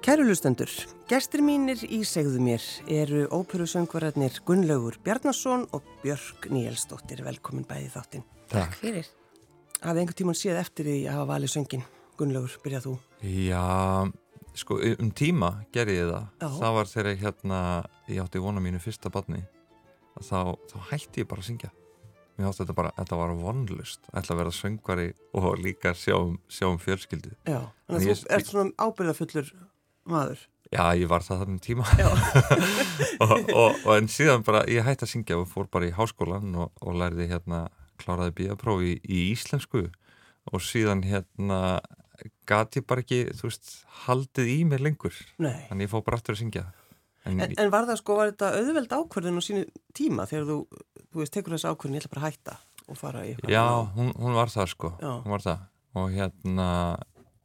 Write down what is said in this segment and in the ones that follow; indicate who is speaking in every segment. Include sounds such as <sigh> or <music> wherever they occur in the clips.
Speaker 1: Kæru hlustendur, gestir mínir í segðu mér eru óperusöngvararnir Gunnlaugur Bjarnason og Björk Níelsdóttir. Velkomin bæði í þáttinn.
Speaker 2: Takk.
Speaker 3: Fyrir.
Speaker 1: Hafið einhvern tíman séð eftir því að hafa valið söngin. Gunnlaugur, byrjað þú.
Speaker 2: Já, sko um tíma gerði ég það.
Speaker 1: Já.
Speaker 2: Það var þegar ég hérna, ég átti vona mínu fyrsta barni. að Þá, þá hætti ég bara að syngja. Mér átti þetta bara, þetta var vonlust. Ætla að vera söngvari og líka sjá um, sjá um fjölskyldu.
Speaker 1: Já, þannig að
Speaker 2: Ég-
Speaker 1: þú ert svona ábyrðafullur maður.
Speaker 2: Já, ég var það þarna um tíma. <laughs> og, og, og en síðan bara, ég hætti að syngja og fór bara í háskólan og, og lærði hérna, kláraði bíaprófi í íslensku og síðan hérna gati bara ekki, þú veist, haldið í mér lengur.
Speaker 1: Nei.
Speaker 2: Þannig ég fór bara aftur að syngja En,
Speaker 1: En, en var það sko, var þetta auðveld ákvörðin á sínu tíma þegar þú, þú veist, tekur þessu ákvörðin, ég ætla bara að hætta og fara í eitthvað
Speaker 2: já,
Speaker 1: annað?
Speaker 2: hún, hún var það sko
Speaker 1: Já.
Speaker 2: Hún var það Og hérna,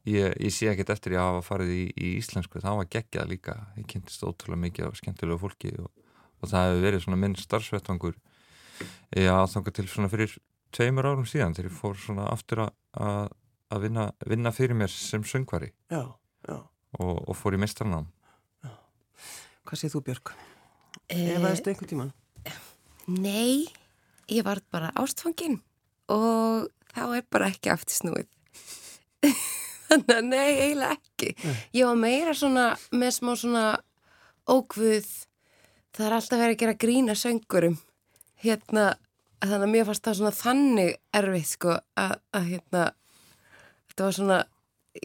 Speaker 2: ég, ég sé ekkert eftir ég hafa farið í, í íslensku Það var geggjað líka Ég kynntist ótrúlega mikið af skemmtilegu fólki og, og það hefur verið svona minn starfsvettvangur Já, þangar til svona fyrir tveimur árum síðan Þegar ég fór svona aftur að- að að vinna, vinna fyrir mér sem söngvari
Speaker 1: Já, já.
Speaker 2: og, og fór í mestranám
Speaker 1: Hvað séð þú, Björk?
Speaker 3: Eh,
Speaker 1: Eða veistu einhvern tíman?
Speaker 3: Nei, ég var bara ástfangin og þá er bara ekki aftur snúið. <laughs> Þannig að nei, eiginlega ekki. Ég var meira svona, með smá svona ókvöð, það er alltaf verið að gera grína söngurum. Hérna, þannig að mér fannst það svona þannig erfið, sko, að, að hérna, þetta var svona,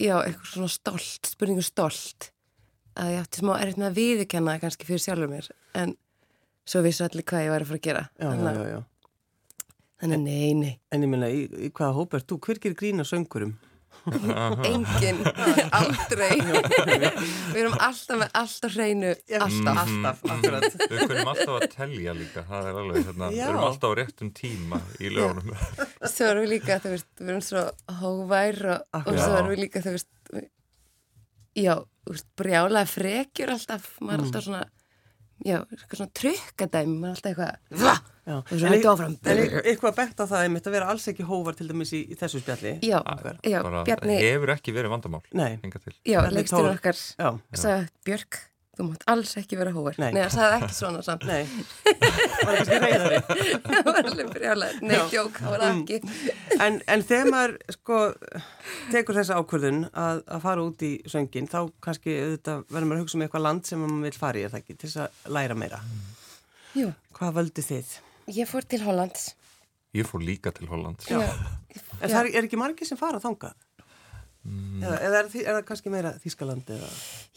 Speaker 3: já, eitthvað svona stolt, spurningu stolt. Að ég átti smá erfið með að viðurkenna það kannski fyrir sjálfur mér, en svo vissu allir hvað ég var að fara að gera.
Speaker 1: Já,
Speaker 3: Þannig
Speaker 1: já,
Speaker 3: að-
Speaker 1: já, já.
Speaker 3: Þannig að nei, nei,
Speaker 1: En ég minna, í, í hvaða hóp er þú? Hver gerir grína
Speaker 3: <laughs>
Speaker 1: söngurum?
Speaker 3: engin,
Speaker 1: <laughs>
Speaker 3: <laughs> aldrei. Við erum alltaf með alltaf hreinu, alltaf.
Speaker 1: alltaf, akkurat.
Speaker 2: Við kunum alltaf að telja líka Það er alveg, hérna, við
Speaker 1: Já.
Speaker 2: erum alltaf á réttum tíma í lögunum
Speaker 1: Mm.
Speaker 3: Svo erum við líka, þú veist, við erum svo hóvær og, og
Speaker 1: Akkurat.
Speaker 3: svo erum við líka, þú veist, við- já, þú veist, brjálega frekjur alltaf, maður er alltaf svona, já, eitthvað svona trykkadæmi, maður er alltaf eitthvað, vah,
Speaker 1: Já.
Speaker 3: og svo hættu áfram.
Speaker 1: En eit- eitthvað bent á það einmitt að vera alls ekki hóvar til dæmis í, í þessu spjalli.
Speaker 3: Já, já,
Speaker 2: bara
Speaker 3: Bjarni,
Speaker 2: hefur ekki verið vandamál
Speaker 1: Nei.
Speaker 2: Hingað til
Speaker 3: já,
Speaker 1: Bjarni
Speaker 3: leikstur
Speaker 1: Thor.
Speaker 3: okkar,
Speaker 1: Já,
Speaker 3: sagði Björk, þú mátt alls ekki vera hóvær.
Speaker 1: Nei.
Speaker 3: Nei, það sagði ekki svona samt. <laughs>
Speaker 1: nei. Var kannski reyðari.
Speaker 3: það var alveg brjálega, nei,
Speaker 1: Já.
Speaker 3: djók, það var það ekki.
Speaker 1: En, en þegar maður, sko, tekur þessa ákvörðun að, að fara út í söngin, þá kannski auðvitað verður maður að hugsa um eitthvað land sem maður vil fara í, er það ekki, til þess að læra meira.
Speaker 3: Jú,
Speaker 1: Hvað völdu þið?
Speaker 3: ég fór til Hollands.
Speaker 2: Ég fór líka til Holland
Speaker 3: Já. Mm.
Speaker 1: En það er, er ekki margir sem fara þangað? Eða, eða er, þi- er það kannski meira Þískaland eða?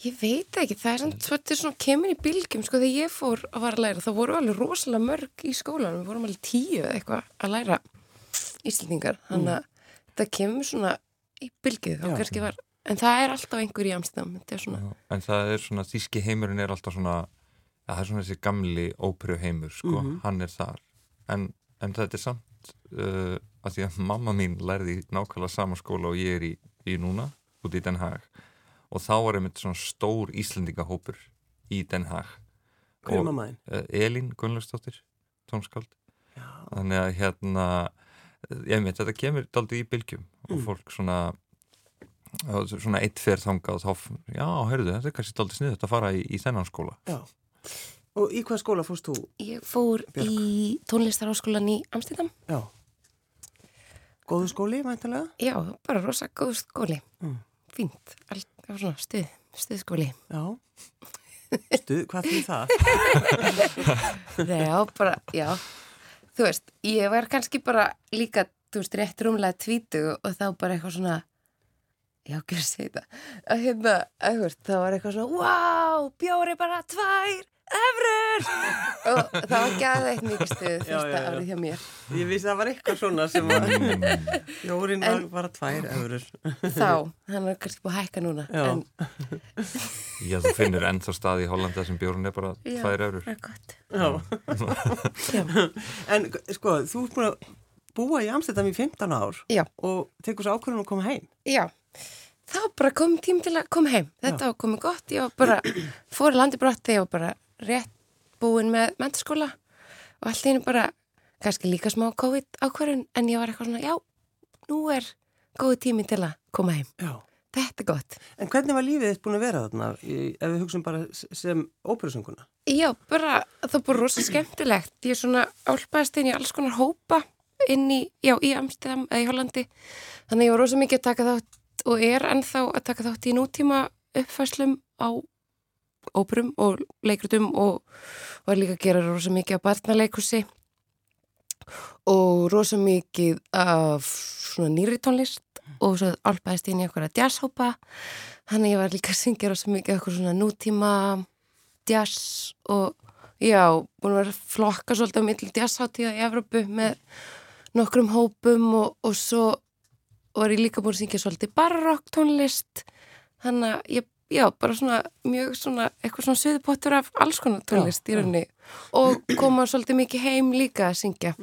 Speaker 3: Ég veit ekki, það er samt svolítið svona kemur í bylgjum, sko, þegar ég fór að var að læra, þá voru alveg rosalega mörg í skólanum, við vorum alveg tíu eða eitthvað að læra íslendingar, þannig að það kemur svona í bylgju, þá
Speaker 1: Já.
Speaker 3: kannski var, en það er alltaf einhver í amstæðum, þetta er svona,
Speaker 2: En það er svona, þíski heimurinn er alltaf svona ja, Það er svona þessi gamli óperu heimur sko, Hann er þar En, en þetta er samt uh, að Því að mamma mín lærði í nákvæmlega sama skóla Og ég er í, í núna, út í Den Haag Og þá var einmitt svona stór Íslendingahópur í Den Haag
Speaker 1: Hver
Speaker 2: Og-
Speaker 1: er mammaðin?
Speaker 2: Eh, Elín Gunnlaustóttir, tónskáld þannig að hérna eh, ég veit, þetta kemur daldið í bylgjum og fólk svona og svona eitt fer þangað og þá, f- já, hörðu, þetta er kannski daldið sniðut að fara í, í þennan skóla
Speaker 1: Já. Og í hvað skóla fórst þú?
Speaker 3: ég fór
Speaker 1: Björk.
Speaker 3: í tónlistarháskólan í amstæðum,
Speaker 1: Já. Góðu skóli, mæntalega?
Speaker 3: já, bara rosa góð skóli,
Speaker 1: Mm.
Speaker 3: fínt, allt, það var svona stuð, stuðskóli.
Speaker 1: Já. Stuð, hvað því það?
Speaker 3: Já, bara, já. Þú veist, ég var kannski bara líka, þú veist, rétt rúmlega tvítug og þá bara eitthvað svona, já, ekki að segja þetta, að hérna, að þú veist, þá var eitthvað svona, wow, bjóri bara tvær, efrur! og það var gæðið eitt mikið
Speaker 1: Já,
Speaker 3: stuð
Speaker 1: já,
Speaker 3: fyrsta
Speaker 1: já.
Speaker 3: árið hjá mér.
Speaker 1: Ég vissi að það var eitthvað svona sem að Jórin var bara tvær öfrur.
Speaker 3: Þá, hann er kannski búið að hækka núna.
Speaker 1: Já.
Speaker 3: en
Speaker 2: Já, þú finnir ennþá stað í Hollanda sem bjórn er bara
Speaker 3: Já.
Speaker 2: tvær eurur
Speaker 3: það er gott.
Speaker 1: Já.
Speaker 3: Já.
Speaker 1: En sko, þú ert búin að búa í Amstættam í 15 ár
Speaker 3: Já.
Speaker 1: og tekur svo ákvörðun um að koma heim.
Speaker 3: Já, þá bara kom tím til að koma heim. Þetta var komið gott, ég var bara, fór í landi brott þegar ég var bara rétt búin með mentaskóla og allt í einu bara, kannski líka smá COVID ákvarðun, en ég var eitthvað svona, já, nú er góð tími til að koma heim.
Speaker 1: Já.
Speaker 3: þetta er gott.
Speaker 1: En hvernig var lífið þitt búin að vera þarna í- ef við hugsaum bara s- sem óperusönguna?
Speaker 3: Já, bara, það búið rosa skemmtilegt. Ég svona álpaðist inn í alls konar hópa inn í, já, í Amsterdam eða í Hollandi. Þannig ég var rosa mikið að taka þátt og er ennþá að taka þátt í nútíma uppfæslum á óperum og leikrutum og var líka að gera rosa mikið á barnaleikusi og rosa mikið af svona nýri tónlist og svo álpaðist inn í okkur að jazzhópa. Þannig ég var líka að syngja rosa mikið okkur svona nútíma jazz og já, búin að vera að flokka svolítið á milli jazzháttíða í Evrópu með nokkrum hópum og, og svo var ég líka búin að syngja svolítið barrock tónlist þannig að ég, já, bara svona mjög svona, eitthvað svona söðupottur af alls konar tónlist í rauninni og koma svolítið mikið heim líka að syngja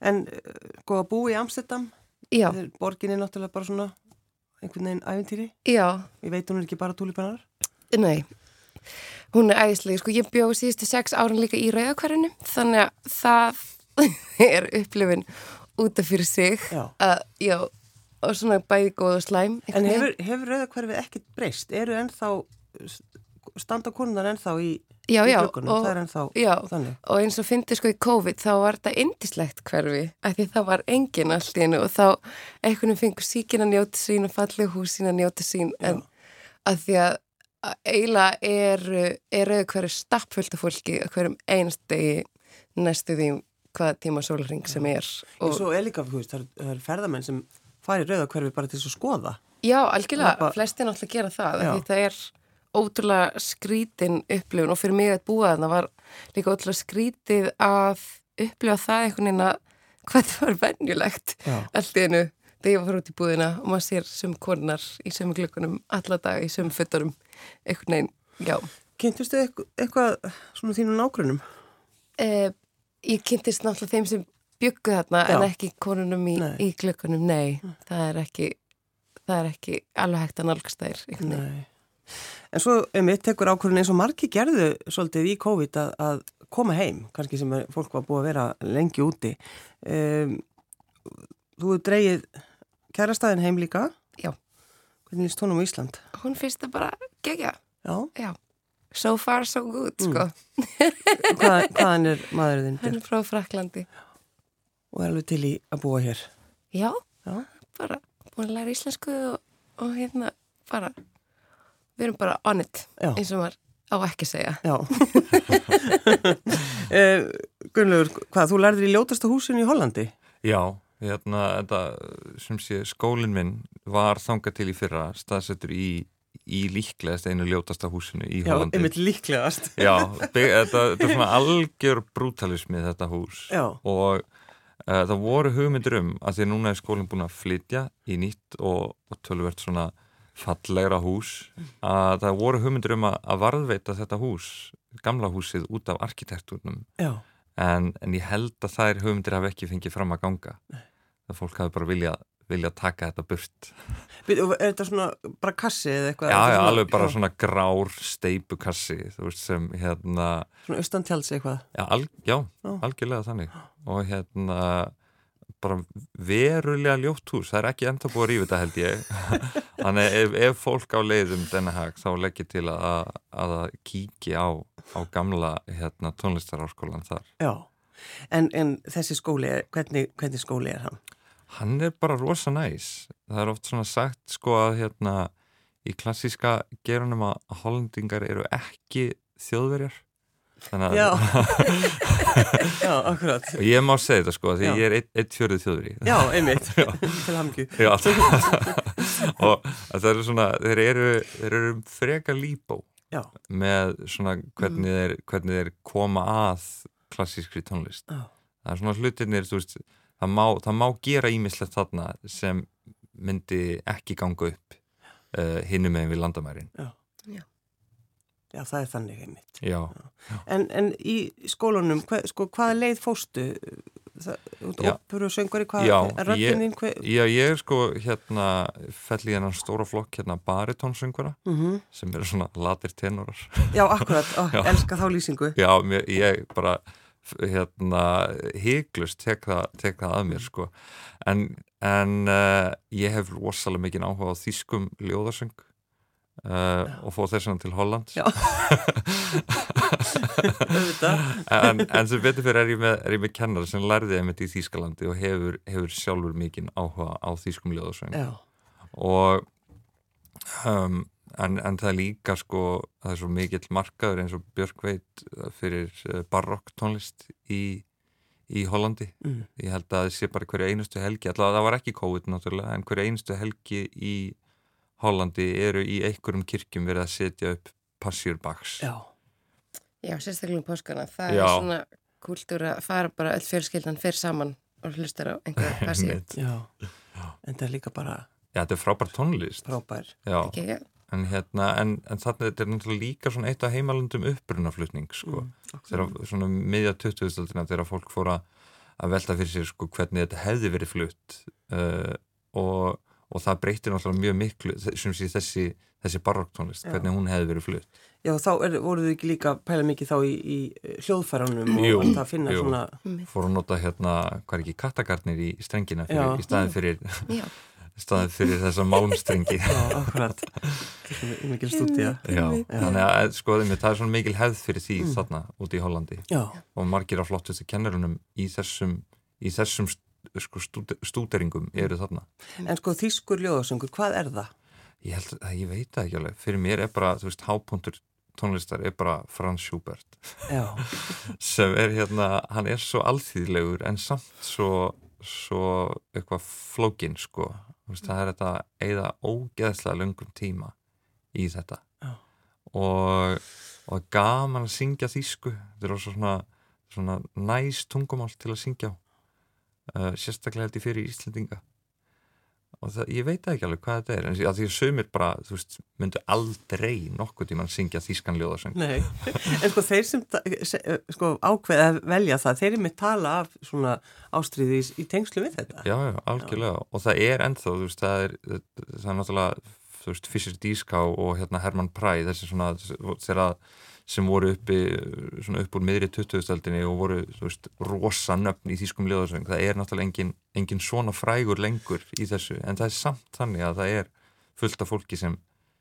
Speaker 1: En eh, sko að búa í Amsterdam,
Speaker 3: já,
Speaker 1: þegar borgin er náttúrulega bara svona einhvern veginn æfintýri.
Speaker 3: já,
Speaker 1: Ég veit hún er ekki bara túlipanar.
Speaker 3: nei hún er æðislega, sko ég bjóð síðustu sex árin líka í rauðakvarinu þannig að það <laughs> er upplifin út af fyrir sig
Speaker 1: Já.
Speaker 3: að, já, og svona bæði góð og slæm
Speaker 1: En hefur,
Speaker 3: einhvern
Speaker 1: hefur rauðakverfið ekkert breyst? Eru ennþá, s- standa konunar ennþá í,
Speaker 3: Já,
Speaker 1: í
Speaker 3: já,
Speaker 1: gluggunum?
Speaker 3: og-
Speaker 1: Það er ennþá
Speaker 3: já,
Speaker 1: þannig.
Speaker 3: og eins og fyndi sko í COVID þá var þetta indislegt hverfi af því það var engin allt í hennu og þá einhvern veginn fengur síkin að njóta sín og fallið húsin að njóta sín en að því að að eiginlega eru er hverju stappfullt af fólki að hverjum einstegi næstu því um hvaða tíma sólring sem er
Speaker 1: Og
Speaker 3: og
Speaker 1: svo er líka, þú veist, það eru- það eru ferðamenn sem fari rauðakverfið bara til þess að skoða.
Speaker 3: Já, algjörlega,
Speaker 1: Labba-
Speaker 3: flesti náttúrulega gera það
Speaker 1: Já.
Speaker 3: af því það er ótrúlega skrítin upplifun og fyrir mig að búa þarna var líka ótrúlega skrítið að upplifa það einhvern veginn að hvað það var venjulegt
Speaker 1: Já.
Speaker 3: allt í hennu þegar ég var út í búðina og maður sér sem konar í sem glökkunum alla dag í sem fötunum einhvern veginn, já
Speaker 1: Kynntustu eitthvað, eitthvað svona þínum nágrunum?
Speaker 3: e, Ég kynntist náttúrulega þeim sem byggu þarna en
Speaker 1: Eh, Já.
Speaker 3: ekki konunum í,
Speaker 1: Nei. Ah.
Speaker 3: í glökkunum, nei það er ekki, það er ekki alveg hægt að nálgast þær einhvern veginn
Speaker 1: Nei. En svo um eitt tekur ákvörðin eins og margi gerðu svolítið í COVID að, að koma heim, kannski sem er, fólk var búið að vera lengi úti. Um, þú hefur dreigið kærastæðin heim líka.
Speaker 3: Já.
Speaker 1: Hvernig líst honum á Ísland?
Speaker 3: hún finnst það bara gegja.
Speaker 1: Já.
Speaker 3: Já. So far so good, sko.
Speaker 1: Hvað, hvaðan er maðurinn þinn
Speaker 3: Hann er frá Fraklandi.
Speaker 1: og er alveg til í að búa hér?
Speaker 3: Já,
Speaker 1: Já.
Speaker 3: bara búin að læra íslensku og, og hérna bara, við erum bara on it,
Speaker 1: Já.
Speaker 3: eins og maður á ekki að segja.
Speaker 1: Já. <laughs> uh, Gunnlaugur, hvað, þú lærðir í ljótasta húsinu í Hollandi?
Speaker 2: Já, hérna, þetta, sem sé, skólinn minn var þangað til í fyrra, staðsettur í, í líklegast einu ljótasta húsinu í Hollandi.
Speaker 1: einmitt líklegast.
Speaker 2: Já, bygg, þetta, þetta er svona algjör brútalismi þetta hús
Speaker 1: Já.
Speaker 2: og uh, það voru hugmyndir um að því að núna er skólinn búin að flytja í nýtt og, og tölvert svona fallegra hús að það voru hugmyndir um að, að varðveita þetta hús, gamla húsið út af arkitekturnum
Speaker 1: Já.
Speaker 2: en, en ég held að þær hugmyndir hafi ekki fengið fram að ganga að fólk hafi bara viljað vilja taka þetta burt
Speaker 1: Býtu, og Er þetta svona bara kassi eða eitthvað?
Speaker 2: já,
Speaker 1: Er þetta
Speaker 2: já,
Speaker 1: svona-
Speaker 2: alveg bara
Speaker 1: já,
Speaker 2: svona grár steipukassi þú veist sem hérna
Speaker 1: Svona austan tjáls eitthvað.
Speaker 2: já, al, já
Speaker 1: Já.
Speaker 2: algjörlega þannig og hérna bara verulega ljótt hús það er ekki enda búið að rífa þetta held ég <laughs> þannig ef, ef fólk á leiðum denna hag þá legg ég til að, að það kíki á, á gamla hérna, tónlistarárskólan þar
Speaker 1: Já. En, en þessi skóli, er, hvernig, hvernig skóli er hann?
Speaker 2: Hann er bara rosa næs. Það er oft svona sagt sko að hérna í klassíska gerunum að hollendingar eru ekki þjóðverjar. Þannig
Speaker 1: Já.
Speaker 2: að
Speaker 1: Já, akkurat.
Speaker 2: <laughs> ég má segja þetta sko því
Speaker 1: Já.
Speaker 2: ég er eitt, eitt fjörðið þjóðveri.
Speaker 1: Já, einmitt. <laughs> Til hamgju.
Speaker 2: Já. <laughs> og að það eru svona, þeir eru, þeir eru freka líbó
Speaker 1: Já.
Speaker 2: með svona hvernig, þeir, hvernig þeir koma að klassískri tónlist.
Speaker 1: Já.
Speaker 2: Það er svona hlutinir, þú veist, það má, það má gera ímislegt þarna sem myndi ekki ganga upp uh, hinnum meðin við landamærin.
Speaker 1: Já, það er þannig einmitt.
Speaker 2: Já.
Speaker 1: En, en í skólunum, hva, sko, hvaða leið fóstu? Það,
Speaker 2: Já.
Speaker 1: Óperu og söngari, hvað
Speaker 2: Já,
Speaker 1: er
Speaker 2: ég-
Speaker 1: röddinn þín? Hver,
Speaker 2: Já, ég er sko hérna, fell í hennan stóra flokk hérna baritónsöngura sem eru svona latir tenorar.
Speaker 1: Mhm. Já, akkurat, ó,
Speaker 2: Já.
Speaker 1: elska þá lýsingu.
Speaker 2: Já, mér, ég bara f- hérna, hygglust tek, það- tek það að mér sko. en, en uh, ég hef rosalega mikið áhuga á þýskum ljóðarsöng uh, og fór þess vegna til Holland
Speaker 1: Já. auðvitað.
Speaker 2: en, en sem betur fyrir er ég með, er ég með kennar sem lærði einmitt í Þýskalandi og hefur, hefur sjálfur mikinn áhuga á þýskum ljóðarsöng
Speaker 1: Já,
Speaker 2: og um, en, en það er líka sko það er svo mikill markaður eins og Björk veit uh, fyrir uh, barokk tónlist í, í Hollandi
Speaker 1: Mm.
Speaker 2: ég held að það sé bara hverju einustu helgi allavega það var ekki COVID náttúrulega en hverju einustu helgi í Hollandi eru í einhverjum kirkjum verið að setja upp passjurbaks
Speaker 1: já,
Speaker 3: Já, sérstaklega um páskana. Það
Speaker 2: Já.
Speaker 3: er svona kúltúr að fara bara öll fjölskyldan fyrir saman og hlustar á
Speaker 2: <laughs>
Speaker 3: einhverja passi.
Speaker 2: Einmitt.
Speaker 1: já. En það er líka bara
Speaker 2: Já, þetta er frábært tónlist
Speaker 1: frábær.
Speaker 2: Já,
Speaker 3: Ekki, já.
Speaker 2: en hérna en, en þannig þetta er náttúrulega líka svona eitt af heimalundum upprunaflutning sko.
Speaker 1: Mm. Mhm.
Speaker 2: þegar svona miðja 2000-öldina þegar fólk fór að að velta fyrir sér sko hvernig þetta hefði verið flutt uh, og, og það breytir náttúrulega mjög miklu þe- sem sé þessi, þessi barokktónlist
Speaker 1: Já.
Speaker 2: hvernig hún hefði verið flutt
Speaker 1: Já, þá er, voruð þið ekki líka að pæla mikið þá í, í hljóðfæranum og
Speaker 2: Jú,
Speaker 1: allt að finna
Speaker 2: jú.
Speaker 1: svona,
Speaker 2: fór að nota hérna, hvað er ekki, kattagarnir í strengina
Speaker 1: Já.
Speaker 2: fyrir, í staðin fyrir, <laughs>
Speaker 3: Já.
Speaker 2: staðin fyrir þessa málmstrengi
Speaker 1: já, akkurat, mikil stúdíja.
Speaker 2: <laughs> Já, þannig að sko, einmitt, það er svona mikil hefð fyrir því
Speaker 1: Mm.
Speaker 2: þarna úti í Hollandi
Speaker 1: Já,
Speaker 2: og margir af flottustu kennarunum í þessum, í þessum st- sko, stúde- stúderingum eru þarna
Speaker 1: en sko þýskur ljóðasöngur, hvað er það?
Speaker 2: ég held að ég veit það ekki alveg fyrir mér er bara, þú veist, hápuntur tónlistar er bara Franz Schubert
Speaker 1: Já,
Speaker 2: sem er hérna, hann er svo alþýðlegur en samt svo, svo eitthvað flókin sko Þú veist, það er þetta eða ógeðslega löngum tíma í þetta
Speaker 1: Já.
Speaker 2: og, og gaman að syngja þýsku þetta er rosa svona, svona næs tungumál til að syngja á. uh, sérstaklega held ég fyrir Íslendinga og það, ég veit það ekki alveg hvað þetta er en því að því að sömur bara, þú veist, myndu aldrei nokkuð tíma að syngja þýskan ljóðasöng
Speaker 1: nei, en sko þeir sem ta- se- sko, ákveða að velja það, þeir er með tala af svona ástriði í, í tengslu við þetta.
Speaker 2: Já, já, algjörlega og það er ennþá, þú veist, það er það er náttúrulega, þú veist, Fischer Díská og hérna Herman Præ, þessi svona þeirra sem voru uppi svona upp úr miðri 2000-öldinni og voru, þú veist, rosa nöfn í þýskum liðarsöng, það er náttúrulega engin, engin svona frægur lengur í þessu en það er samt þannig að það er fullt af fólki sem,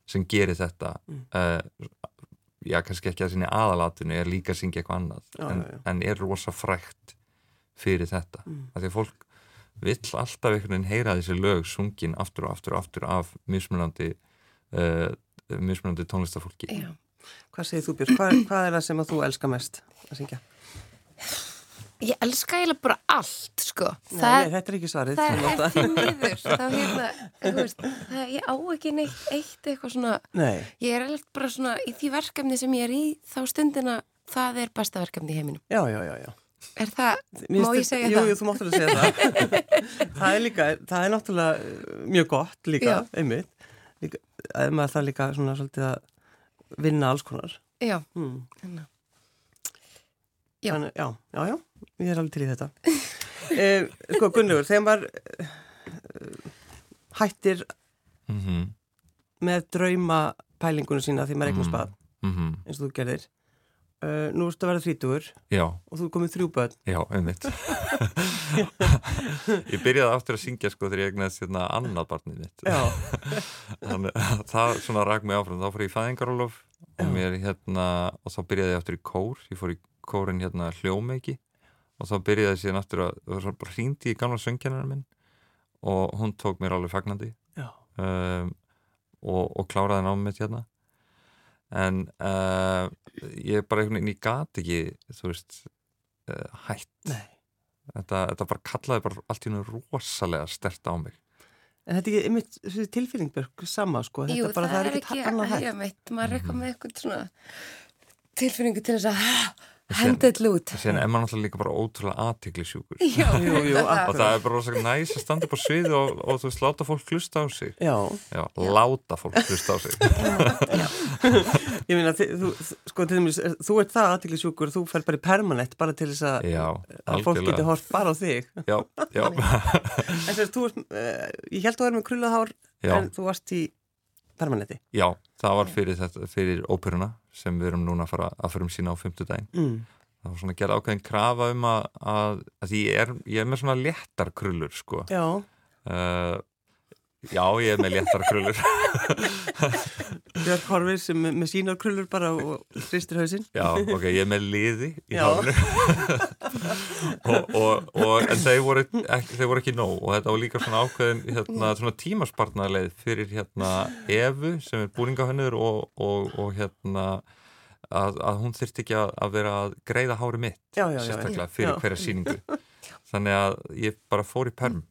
Speaker 2: sem gerir þetta mm. já, kannski ekki að sinni aðalatinu er líka að syngja eitthvað annað
Speaker 1: Já,
Speaker 2: en,
Speaker 1: já, já.
Speaker 2: en er rosa frægt fyrir þetta, mm. af því að fólk vill alltaf einhvern veginn heyra þessi lög sungin aftur og aftur og aftur af mismunandi uh, mismunandi tónlistafólki
Speaker 3: Já.
Speaker 1: Hvað segir þú Björn, hvað, hvað er það sem að þú elskar mest að syngja?
Speaker 3: Ég elska eiginlega bara allt, sko.
Speaker 1: Nei,
Speaker 3: það,
Speaker 1: nei, þetta er ekki svarið.
Speaker 3: það
Speaker 1: þú
Speaker 3: er
Speaker 1: mátt
Speaker 3: eftir miður. Þá hérna, þú veist, það, ég á ekki neitt eitt eitthvað svona,
Speaker 1: Nei,
Speaker 3: ég er eiginlega bara svona í því verkefni sem ég er í þá stundina, það er besta verkefni í heiminum.
Speaker 1: já, já, já, já.
Speaker 3: Er það,
Speaker 1: Mér
Speaker 3: má
Speaker 1: finnst þetta-
Speaker 3: ég segja
Speaker 1: jú,
Speaker 3: það?
Speaker 1: Jú, þú máttur að segja það.
Speaker 3: <laughs>
Speaker 1: það er líka, það er náttúrulega uh, mjög gott líka,
Speaker 3: Já.
Speaker 1: einmitt. Líka, að maður það líka svona svolítið að vinna alls konar.
Speaker 3: Já,
Speaker 1: Mm.
Speaker 3: þannig. að- Já.
Speaker 1: Þannig, já, já, já, ég er alveg til í þetta. <laughs> Eh, sko, Gunnlaugur, þegar maður uh, hættir
Speaker 2: mm -hmm.
Speaker 1: með drauma pælingunum sína því maður eignast bað,
Speaker 2: mhm.
Speaker 1: eins og þú gerðir, uh, nú ertu að vera þrítugur
Speaker 2: Já,
Speaker 1: og þú er komið þrjú börn.
Speaker 2: já, einmitt
Speaker 1: <laughs>
Speaker 2: <laughs> Ég byrjaði aftur að syngja sko þegar ég egnaðist hérna annað barnið mitt
Speaker 1: Já,
Speaker 2: Þannig að <laughs> það svona rak mig áfram þá fór ég í fæðingarólof og,
Speaker 1: Já.
Speaker 2: mér, hérna, og þá byrjaði ég aftur í kór ég fór í kórin hérna hljómeiki og þá byrjaði ég síðan aftur að og svo bara hrýndi í gamla söngjarnar minn og hún tók mér alveg fagnandi
Speaker 1: já,
Speaker 2: um, og, og kláraði námið mitt hérna en uh, ég bara einhvern veginn, ég gat ekki þú veist uh, hætt,
Speaker 1: nei.
Speaker 2: þetta, þetta bara kallaði bara allt í hennu rosalega stert á mig
Speaker 1: En þetta er ekki einmitt þessi tilfinning Björg, sama sko, þetta
Speaker 3: Jú,
Speaker 1: er bara, það er ekkert annað hægt. Mm.
Speaker 3: Já, meitt, maður er eitthvað með eitthvað svona tilfinningu til þess að "Ha,
Speaker 2: sé-
Speaker 3: henda þetta út.
Speaker 2: síðan er maður náttúrulega líka bara ótrúlega aðtiklisjúkur
Speaker 3: Já,
Speaker 1: <laughs> Jú, jú,
Speaker 2: og
Speaker 1: akkurat.
Speaker 2: það er bara rosalega næs að standa upp á sviði og, og þú veist, láta fólk hlusta á sig
Speaker 1: Já,
Speaker 2: já, láta fólk hlusta á sig
Speaker 1: ég meina, þi- þú, sko, til dæmis, er- þú ert það aðtiklisjúkur, þú fer bara í permanent bara til þess að,
Speaker 2: já,
Speaker 1: að fólk geti hort bara á þig.
Speaker 2: já, já,
Speaker 1: En þess að þú ert, uh, ég held að þú erum með krullað hár,
Speaker 2: já,
Speaker 1: en þú varst í permanenti.
Speaker 2: já það var fyrir, þetta, fyrir óperuna sem við erum núna að fara að fyrir sína um á fimmtudaginn
Speaker 1: Mm.
Speaker 2: það var svona að gera ákveðin krafa um að, að, að því ég er, ég er með svona léttar krullur sko
Speaker 1: já,
Speaker 2: uh, já, ég er með léttar krullur <laughs>
Speaker 1: Björk Horfir sem með- með sínar krullur bara og hristir hausinn.
Speaker 2: já, ok, ég er með liði í
Speaker 1: Já.
Speaker 2: hálfnu og, og, og en þeir voru ekki, þeir voru ekki nóg og þetta var líka svona ákveðin
Speaker 1: Mm.
Speaker 2: hérna, svona tímaspartnarleið fyrir hérna Evu sem er búningahönnur og, og, og hérna að, að hún þyrfti ekki að, að vera að greiða hári mitt
Speaker 1: Já, já, já.
Speaker 2: sérstaklega fyrir
Speaker 1: Já. <laughs>
Speaker 2: hverja síningu þannig að ég bara fór í perm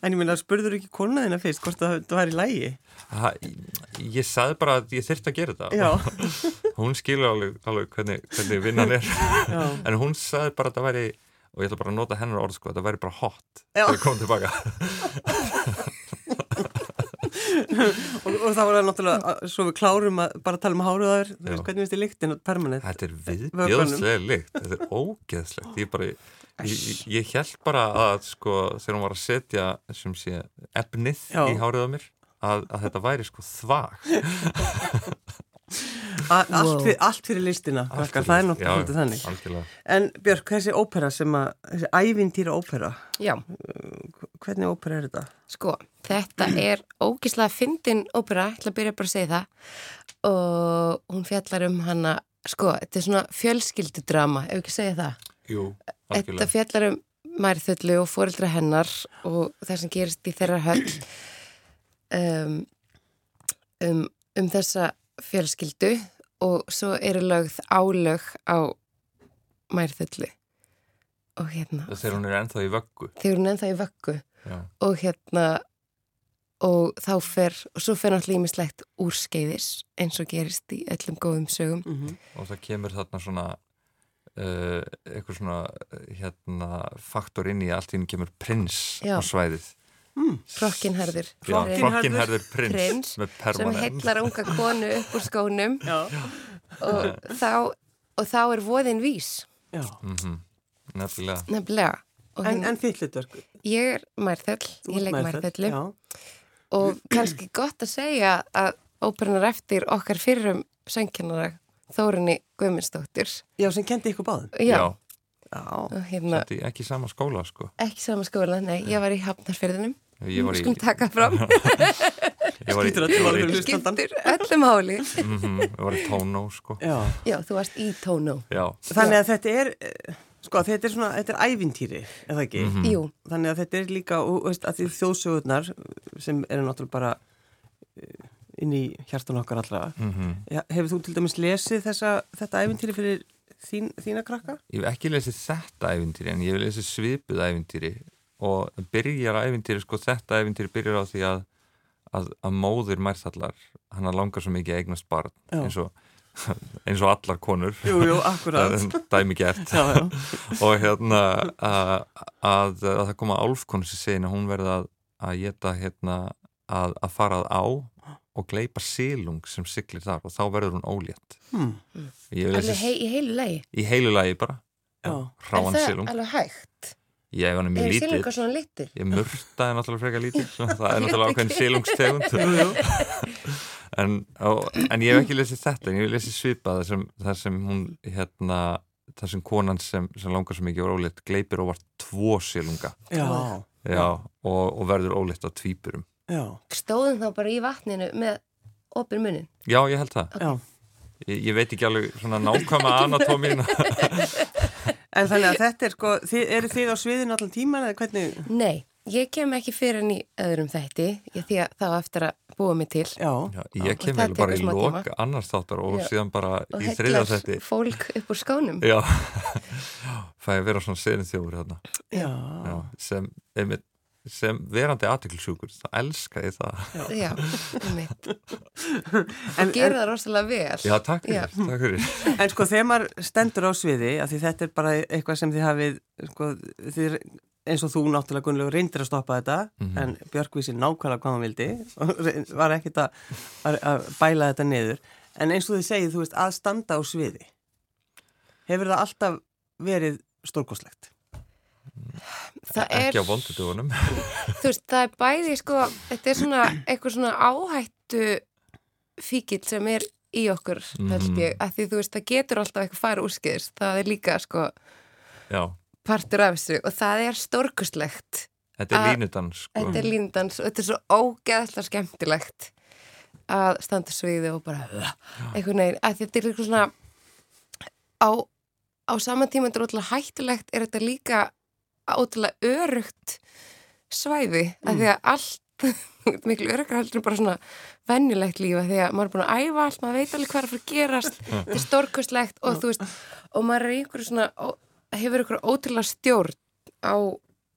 Speaker 1: En ég meina, spurður ekki konaðina fyrst hvort það, það var í lægi?
Speaker 2: ha, ég- ég sagði bara að ég þyrfti að gera þetta
Speaker 1: Já,
Speaker 2: hún skilur alveg, alveg hvernig, hvernig
Speaker 1: <laughs>
Speaker 2: vinnan er
Speaker 1: já.
Speaker 2: en hún sagði bara að það væri og ég ætla bara að nota hennar orð sko, að það væri bara hot
Speaker 1: Já.
Speaker 2: þegar ég kom tilbaka
Speaker 1: Og, og það var náttúrulega, að- svo við klárum að bara tala um hárið á þér, þú
Speaker 2: Já.
Speaker 1: veist hvernig finnst þið lyktin permanent?
Speaker 2: þetta er
Speaker 1: Vökvanum.
Speaker 2: viðbjöðslega lykt þetta er ógeðslegt ég, bara, ég, ég- ég held bara að sko, þegar hún var að setja sem sé, efnið
Speaker 1: Já.
Speaker 2: í hárið á mér að, að þetta væri sko þvag
Speaker 1: A, allt,
Speaker 3: Wow.
Speaker 1: fyrir, allt fyrir listina,
Speaker 2: Allt
Speaker 1: krakkar,
Speaker 2: fyrir
Speaker 1: það er
Speaker 2: lykt. Já,
Speaker 1: náttúrulega svolítið þannig.
Speaker 2: algjörlega.
Speaker 1: En Björk, þessi ópera sem að, þessi ævintýra ópera,
Speaker 3: Já,
Speaker 1: hvernig ópera er þetta?
Speaker 3: sko, þetta er ógislega fyndin ópera, ég ætla að byrja bara að segja það og hún fjallar um hana, sko, þetta er svona fjölskyldudrama, ef ekki að segja það.
Speaker 2: Jú,
Speaker 3: Þetta
Speaker 2: algjörlega.
Speaker 3: fjallar um mærþullu og fóreldra hennar og það sem gerist í þeirra höll um, um, um þessa fjölskyldu og svo eru lögð álög á mærþullu og hérna,
Speaker 2: Og þegar hún er ennþá í vöggu
Speaker 3: þegar hún ennþá í vöggu
Speaker 2: já.
Speaker 3: og hérna og þá fer, og svo fer náttúrulega ímislegt úrskeiðis eins og gerist í öllum góðum sögum
Speaker 1: Mm
Speaker 2: og það kemur þarna svona uh, eitthvað svona eh, hérna, faktor inn í allt í hún kemur prins
Speaker 3: Já.
Speaker 2: á svæðið
Speaker 3: Frokkinherður
Speaker 2: Já,
Speaker 1: Frokkinharður
Speaker 2: Frokkinherður prins,
Speaker 3: prins
Speaker 2: með
Speaker 3: sem
Speaker 2: permanent
Speaker 3: heillar unga konu upp úr skónum
Speaker 1: Já,
Speaker 3: og
Speaker 1: <laughs>
Speaker 3: þá, og þá er voðin vís
Speaker 1: já.
Speaker 2: Mhm, nefnilega
Speaker 3: nefnilega og
Speaker 1: En,
Speaker 3: en,
Speaker 1: en þitt hlutverk?
Speaker 3: ég er mærþöll,
Speaker 1: Þú
Speaker 3: ég
Speaker 1: ert
Speaker 3: leik
Speaker 1: Martha,
Speaker 3: mærþöllu
Speaker 1: Já,
Speaker 3: og kannski gott að segja að óperan er eftir okkar fyrrum söngkennara Þórunni Guðmundsdóttir
Speaker 1: já, sem kendi ykkur báðum.
Speaker 3: já,
Speaker 1: Já,
Speaker 3: og hérna
Speaker 2: þetta er ekki í sama skóla sko
Speaker 3: ekki sama skóla, nei, ég var í Hafnarfyrðinum
Speaker 2: ég var í,
Speaker 3: skulum taka
Speaker 2: <laughs>
Speaker 3: fram
Speaker 2: ég var í,
Speaker 1: Skiptir öllu
Speaker 2: ég var
Speaker 1: máli.
Speaker 2: í,
Speaker 1: Hlustandann.
Speaker 3: skiptir öllu máli
Speaker 2: mhm, ég var í tónó sko
Speaker 1: já.
Speaker 3: já, þú varst í tónó
Speaker 2: já,
Speaker 1: Þannig að þetta er, eh, sko, þetta er svona, þetta er ævintýri, eða ekki?
Speaker 2: Mhm. Mm.
Speaker 3: jú,
Speaker 1: Þannig að þetta er líka, og, og veist, að því þjóðsögurnar sem eru náttúrulega bara eh, inn í hjartan okkar allra.
Speaker 2: mhm.
Speaker 1: Ja, Hefur þú til dæmis lesið þessa, þetta ævintýri fyrir þín, þína krakka?
Speaker 2: ég hef ekki lesið þetta ævintýri en ég hef lesið svipið ævintýri og byrjar ævintýri sko þetta ævintýri byrjar á því að að, að móður mærþallar hann langar svo mikið að eignast barn
Speaker 1: Já.
Speaker 2: eins og, <laughs> eins og allar konur
Speaker 1: Jú, jú,
Speaker 2: það
Speaker 1: akkurat.
Speaker 2: er dæmi gert
Speaker 1: já, já.
Speaker 2: og hérna að, að, að það koma álfkonu sem segir að hún verði að, að geta hérna að, að fara að á og gleipa silung sem siglir þar og þá verður hún ólétt
Speaker 1: Hmm.
Speaker 2: ég hef
Speaker 3: alveg
Speaker 2: lesið
Speaker 3: hei, í heilu lagi
Speaker 2: í heilu lagi bara
Speaker 1: Já.
Speaker 3: er
Speaker 2: ráan
Speaker 3: það
Speaker 2: silung
Speaker 3: alveg hægt?
Speaker 2: ég hef hann er mjög
Speaker 3: er
Speaker 2: lítið
Speaker 3: silungar svona litil?
Speaker 2: ég murtaði náttúrulega frekar
Speaker 3: <laughs>
Speaker 2: lítið svona, það er náttúrulega ákveðin silungstegund
Speaker 1: Jú, jú.
Speaker 2: en, og, en ég hef ekki lesið þetta en ég hef lesið svipað þar sem, þar sem hún hérna, þar sem konan sem, sem langar svo mikið og ólétt gleipir og var tvo silunga
Speaker 1: Já,
Speaker 2: Já, og, og verður ólétt á tvíburum.
Speaker 1: já,
Speaker 3: stóðum þá bara í vatninu með opin munin
Speaker 2: Já, ég held það.
Speaker 1: já.
Speaker 2: Ég, ég veit ekki alveg svona
Speaker 3: <laughs>
Speaker 2: nákvæma anatómina.
Speaker 1: En þannig að þetta er sko, þið, eru þið á sviðin allan tíman eða hvernig?
Speaker 3: nei, ég kem ekki fyrir henni öðrum þætti ég því að þá á eftir að búa mig til
Speaker 1: Já,
Speaker 2: Já, ég kem
Speaker 3: Og
Speaker 2: vel
Speaker 3: það
Speaker 2: bara í
Speaker 3: tekur smá tíma.
Speaker 2: lok annars þáttar og
Speaker 3: Já.
Speaker 2: síðan bara
Speaker 3: og
Speaker 2: í þriðarsætti.
Speaker 3: heglar fólk upp úr skónum
Speaker 2: Já, <laughs> fæ að vera svona serin þjófur þarna.
Speaker 1: já,
Speaker 2: Já, sem, einmitt, sem verandi aðtiklisjúkur, það elska ég það.
Speaker 3: já, einmitt.
Speaker 1: <laughs> En, en,
Speaker 3: gera það rosalega vel
Speaker 2: Já, takk
Speaker 3: Já.
Speaker 2: fyrir, takk fyrir.
Speaker 1: en sko þegar maður stendur á sviði, af því þetta er bara eitthvað sem þið hafið, sko, þið, eins og þú náttúrulega Gunnlaugur reyndir að stoppa þetta,
Speaker 2: Mhm.
Speaker 1: en Björk vissi nákvæmlega hvað hann vildi og reyn- var ekkit að, að, að bæla þetta niður. En eins og þið segið, þú veist, að standa á sviði, hefur það alltaf verið stórkoslegt?
Speaker 3: það <laughs> er
Speaker 2: Ekki á vondutugunum.
Speaker 3: þú veist, það er bæði sko, þetta er svona eitthvað svona áhættu fíkil sem er í okkur, held
Speaker 2: Mhm.
Speaker 3: ég, að því þú veist, það getur alltaf eitthvað fara úrskeiðis, það er líka sko
Speaker 2: já,
Speaker 3: partur af þessu og það er stórkuslegt,
Speaker 2: þetta er
Speaker 3: Að-
Speaker 2: línudans sko.
Speaker 3: þetta er líndans og þetta er svo ógeðslega skemmtilegt að standa á sviði og bara eitthvað neginn, að þetta er eitthvað svona á, á saman tíma þetta er ótrúlega hættulegt, er þetta líka ótrúlega örugt svæði, af því að allt <laughs> miklu örugra heldur en bara svona vennilegt lífa því að maður er búin að æfa allt maður veit alveg hvað er að fara að
Speaker 2: <laughs>
Speaker 3: gerast þetta er stórkustlegt og þú veist og maður er í einhverju svona ó- hefur einhverju ótrúlega stjórn á,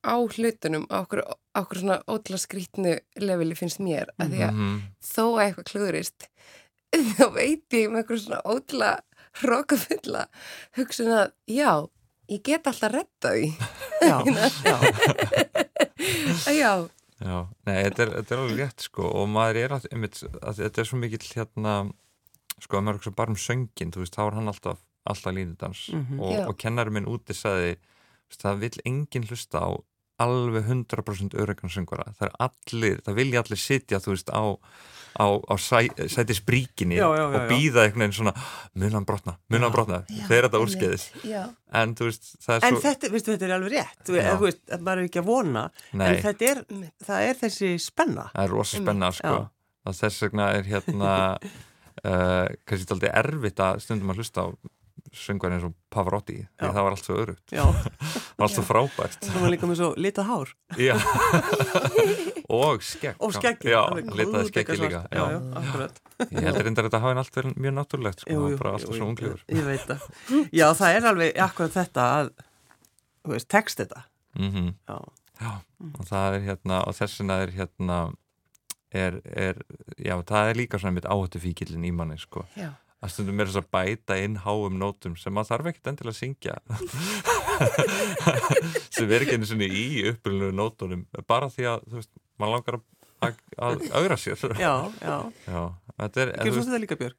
Speaker 3: á hlutunum á okkur, á okkur svona ótrúlega skrítnu leveli finnst mér af því að
Speaker 2: Mhm.
Speaker 3: þó að eitthvað klúðurist <laughs> þá veit ég með einhverju svona ótrúlega hrókafulla hugsun að já, ég get alltaf retta
Speaker 2: <laughs>
Speaker 3: því
Speaker 1: <laughs> Já, já,
Speaker 3: já,
Speaker 2: Já, nei, þetta er, þetta er alveg rétt sko og maður er alltaf, einmitt, að þetta er svo mikill hérna, sko að maður er ekki svo bara um söngin, þú veist, þá er hann alltaf alltaf línudans
Speaker 1: Mhm.
Speaker 2: og,
Speaker 3: Já.
Speaker 2: og kennari minn úti sagði, þú veist, það vil enginn hlusta á alveg 100% öryggan söngvara, það er allir, það vilja allir sitja, þú veist, á á, á sæ, sæti spríkinni
Speaker 1: Já, já, já, já.
Speaker 2: og býða einhvern veginn svona munan brotna, munan brotna, þegar þetta úrskeiðis
Speaker 3: já
Speaker 2: en þú veist, það er
Speaker 1: en
Speaker 2: svo
Speaker 1: þetta, veistu, þetta er alveg rétt, þú
Speaker 2: Já.
Speaker 1: þú veist, að maður er ekki að vona,
Speaker 2: Nei.
Speaker 1: en þetta er, það er þessi spenna.
Speaker 2: það er rosa spenna sko.
Speaker 1: Já.
Speaker 2: að þess vegna er
Speaker 1: <laughs>
Speaker 2: hérna uh, kannski þetta aldrei erfitt að stundum að hlusta á söngvarinn eins og Pavarotti því
Speaker 1: Já.
Speaker 2: það var allt svo örugt,
Speaker 1: Já,
Speaker 2: það var allt svo
Speaker 1: <laughs>
Speaker 2: frábært
Speaker 1: þú var líka með svo litað hár
Speaker 2: Já. og skegg
Speaker 1: og skeggi.
Speaker 2: já, litaði skeggi líka
Speaker 1: Já, já,
Speaker 2: já.
Speaker 1: akkurat.
Speaker 2: ég heldur reyndar að þetta hafi allt verið mjög náttúrulegt sko.
Speaker 1: Jú, jú,
Speaker 2: það var bara
Speaker 1: jú,
Speaker 2: alltaf
Speaker 1: jú,
Speaker 2: svo unglífur
Speaker 1: Ég veit það. Já, það er alveg akkurat þetta að, þú veist, text þetta.
Speaker 2: mm
Speaker 1: Já,
Speaker 2: Já,
Speaker 1: Mm.
Speaker 2: og það er hérna og þessina er hérna er, er, já, það er líka svona mitt áhættu fíkilin í manni, sko
Speaker 3: Já.
Speaker 2: að stundum er þess að bæta inn háum nótum sem maður þarf ekkert endilega að <laughs> syngja sem er ekki einu sinni í upprunlegu nótunum bara því að, þú veist, maður langar að, að augra sér já,
Speaker 1: já, já.
Speaker 2: þetta
Speaker 1: Gjörðu
Speaker 2: er, en, þú
Speaker 1: svo
Speaker 2: veist,
Speaker 1: þetta líka, Björg?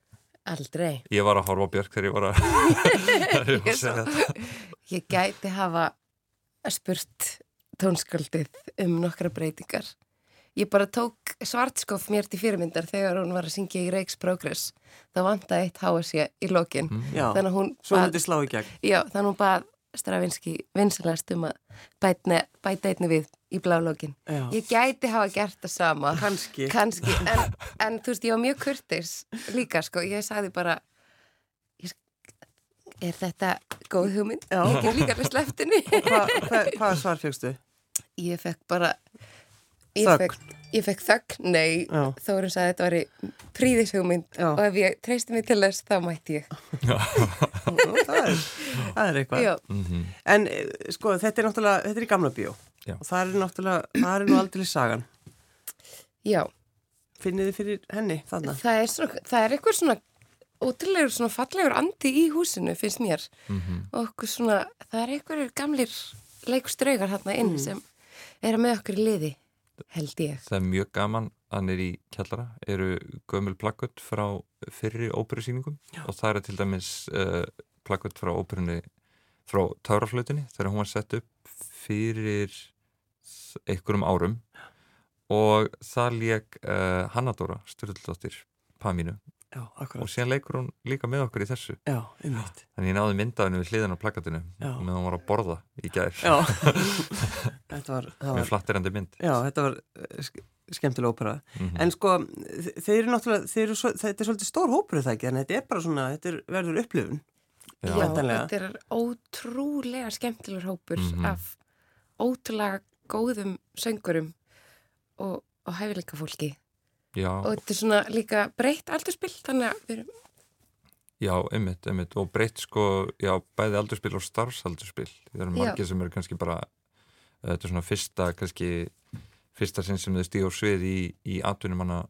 Speaker 3: aldrei
Speaker 2: ég var að horfa á Björk þegar <laughs> ég var að, þegar ég var að segja þetta
Speaker 3: Ég gæti hafa spurt tónskaldið um nokkra breytingar. Ég bara tók svartskof mér til fyrirmyndar þegar hún var að syngja í Reykjavíks Progress. Það vantaði eitt háasja í lokin.
Speaker 1: Mm, Já,
Speaker 3: Þannig að hún
Speaker 1: svo
Speaker 3: bað,
Speaker 1: myndi slá í gegn.
Speaker 3: já, þannig að hún bað Stravinski vinsalast um að bætne, bæta einni við í blá lokin.
Speaker 1: Já,
Speaker 3: Ég gæti hafa gert það sama.
Speaker 1: kannski.
Speaker 3: Kanski,
Speaker 1: <laughs>
Speaker 3: en, en þú veist, ég var mjög kurtis líka, sko, ég sagði bara ég, er þetta góð hugmynd?
Speaker 1: Já.
Speaker 3: Ég get líka alveg sleftinni
Speaker 1: Hva, hva, <laughs> hvað svar fegstu?
Speaker 3: Ég fekk bara ég
Speaker 1: Þögn.
Speaker 3: fekk, ég fekk þögn, nei
Speaker 1: Já.
Speaker 3: Þórun sagði að þetta væri príðis hugmynd
Speaker 1: Já.
Speaker 3: og ef ég treysti mig til þess, þá mætti ég
Speaker 1: það, er, það er eitthvað.
Speaker 3: Já,
Speaker 2: Mhm.
Speaker 1: En eh, sko, þetta er náttúrulega, þetta er í gamla bíó.
Speaker 2: Já.
Speaker 1: Og það er náttúrulega, það er nú aldrei sagan.
Speaker 3: já,
Speaker 1: Finnið þið fyrir henni þarna?
Speaker 2: hérna.
Speaker 3: það er, svona, það er eitthvað svona ótrúlegur svona fallegur andi í húsinu, finnst mér
Speaker 2: Mhm.
Speaker 3: og okkur svona, það er einhverjir gamlir leikstraugar hérna inn
Speaker 2: Mhm.
Speaker 3: sem eru með okkur í liði held ég.
Speaker 2: það er mjög gaman hann er í kjallara, eru gömul plakkut frá fyrri óperusýningum og það eru til dæmis uh, plakkut frá óperunni frá Táraflautinni þegar hún var sett upp fyrir s- einhverjum árum og það leik uh, Hannadóra Sturldóttir Pamínu
Speaker 1: Já, akkurat.
Speaker 2: og síðan leikur hún líka með okkur í þessu
Speaker 1: Já,
Speaker 2: <laughs>
Speaker 1: einmitt.
Speaker 2: þannig ég náði myndaðinu við hliðan á plakkatinu
Speaker 1: Já.
Speaker 2: meðan hún var að borða í gær
Speaker 1: Já. <laughs> þetta var, það var,
Speaker 2: með flatterandi mynd
Speaker 1: já, þetta var eh, sk- skemmtileg ópera.
Speaker 2: Mhm.
Speaker 1: En sko, þe- þeir eru náttúrulega, þeir eru svo, þetta er svolítið stór hópur er það ekki, þannig að þetta er bara svona, þetta er, verður upplifun.
Speaker 2: Já.
Speaker 1: Væntanlega.
Speaker 3: þetta er ótrúlega skemmtilegur hópur
Speaker 2: Mhm.
Speaker 3: af ótrúlega góðum söngurum og, og hæfileika fólki.
Speaker 2: Já.
Speaker 3: Og þetta er svona líka breytt aldurspill, þannig að við erum,
Speaker 2: Já, einmitt, einmitt og breytt sko, já, bæði aldurspil og starfsaldurspil. Það eru
Speaker 3: Já.
Speaker 2: margir sem eru kannski bara, eh, þetta er svona fyrsta, kannski, fyrsta sinn sem þau stíð á svið í, í atvinnumanna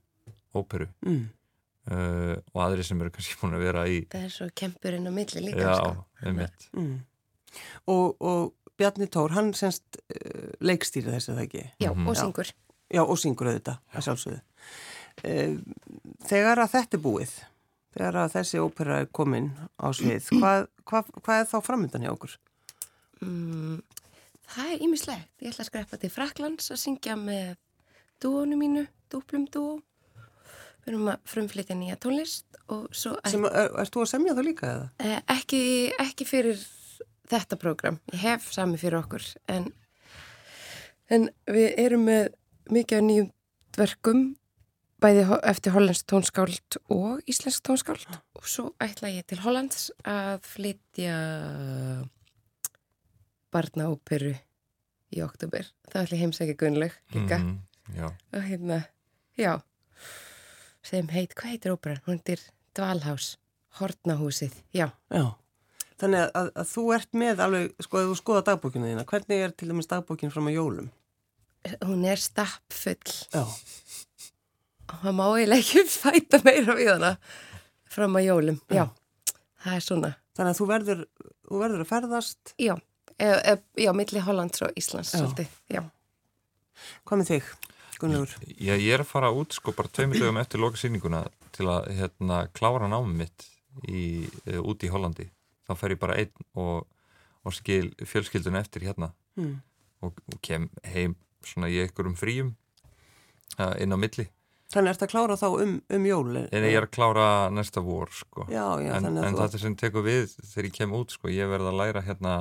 Speaker 2: óperu
Speaker 1: Mm.
Speaker 2: uh, og aðri sem eru kannski búin að vera í,
Speaker 3: það er svo kempurinn á milli líka.
Speaker 2: já,
Speaker 3: sko.
Speaker 2: einmitt.
Speaker 1: Mm. Og, og Bjarni Tór, hann semst uh, leikstýri þessu það ekki?
Speaker 3: Já,
Speaker 2: Mhm.
Speaker 3: og
Speaker 1: Já.
Speaker 3: syngur.
Speaker 1: Já, og syngur auðvitað, að sjálfsögðu. Uh, þegar að þetta er búið, þegar að þessi ópera er komin á
Speaker 2: <clears throat>
Speaker 1: svið, hvað, hvað, hvað er þá framöndan hjá okkur?
Speaker 3: Mm, það er ímislegt. Ég ætla að skreppa til Fraklands að syngja með dúónu mínu, dúplum dúó. við erum að frumflytja nýja tónlist og svo
Speaker 1: Sem, er, ert þú að semja það líka eða?
Speaker 3: Eh, ekki, ekki fyrir þetta prógram, ég hef sami fyrir okkur en, en við erum með mikið af nýjum dverkum bæði ho- eftir hollensk tónskáld og íslensk tónskáld og svo ætla ég til Hollands að flytja barnaóperu í oktober, það ætla ég heimsækja Gunnlaug líka
Speaker 2: Mhm, já,
Speaker 3: og hérna, já sem heit, hvað heitir óperan? Hún heitir Dvalhás, Hortnahúsið já
Speaker 1: Já. Þannig að, að, að þú ert með alveg, sko, ef þú skoða dagbókinu þína, hvernig er til dæmis dagbókinu fram á jólum?
Speaker 3: hún er stappfull
Speaker 1: Já.
Speaker 3: og maður má eiginlega ekki <laughs> fæta meira við hana fram að jólum, já, það er svona
Speaker 1: Þannig að þú verður, þú verður að ferðast,
Speaker 3: já, e, e, já, milli Hollands og Íslands
Speaker 1: Já.
Speaker 3: svolítið, já,
Speaker 1: hvað með þig, Gunnlaugur?
Speaker 2: ég, ég er að fara út sko bara tveimur dögum eftir loka sýninguna til að hérna klára námið mitt í, uh, út í Hollandi þá fer ég bara einn og, og skil fjölskyldun eftir hérna
Speaker 1: Mm.
Speaker 2: og, og kem heim svona í einhverjum fríum uh, inn á milli
Speaker 1: Þannig ert að klára þá um, um jól?
Speaker 2: en ég er að klára næsta vor sko
Speaker 1: Já, já,
Speaker 2: en,
Speaker 1: þannig að
Speaker 2: en
Speaker 1: þú...
Speaker 2: þetta sem tekur við þegar ég kem út sko, ég verð að læra hérna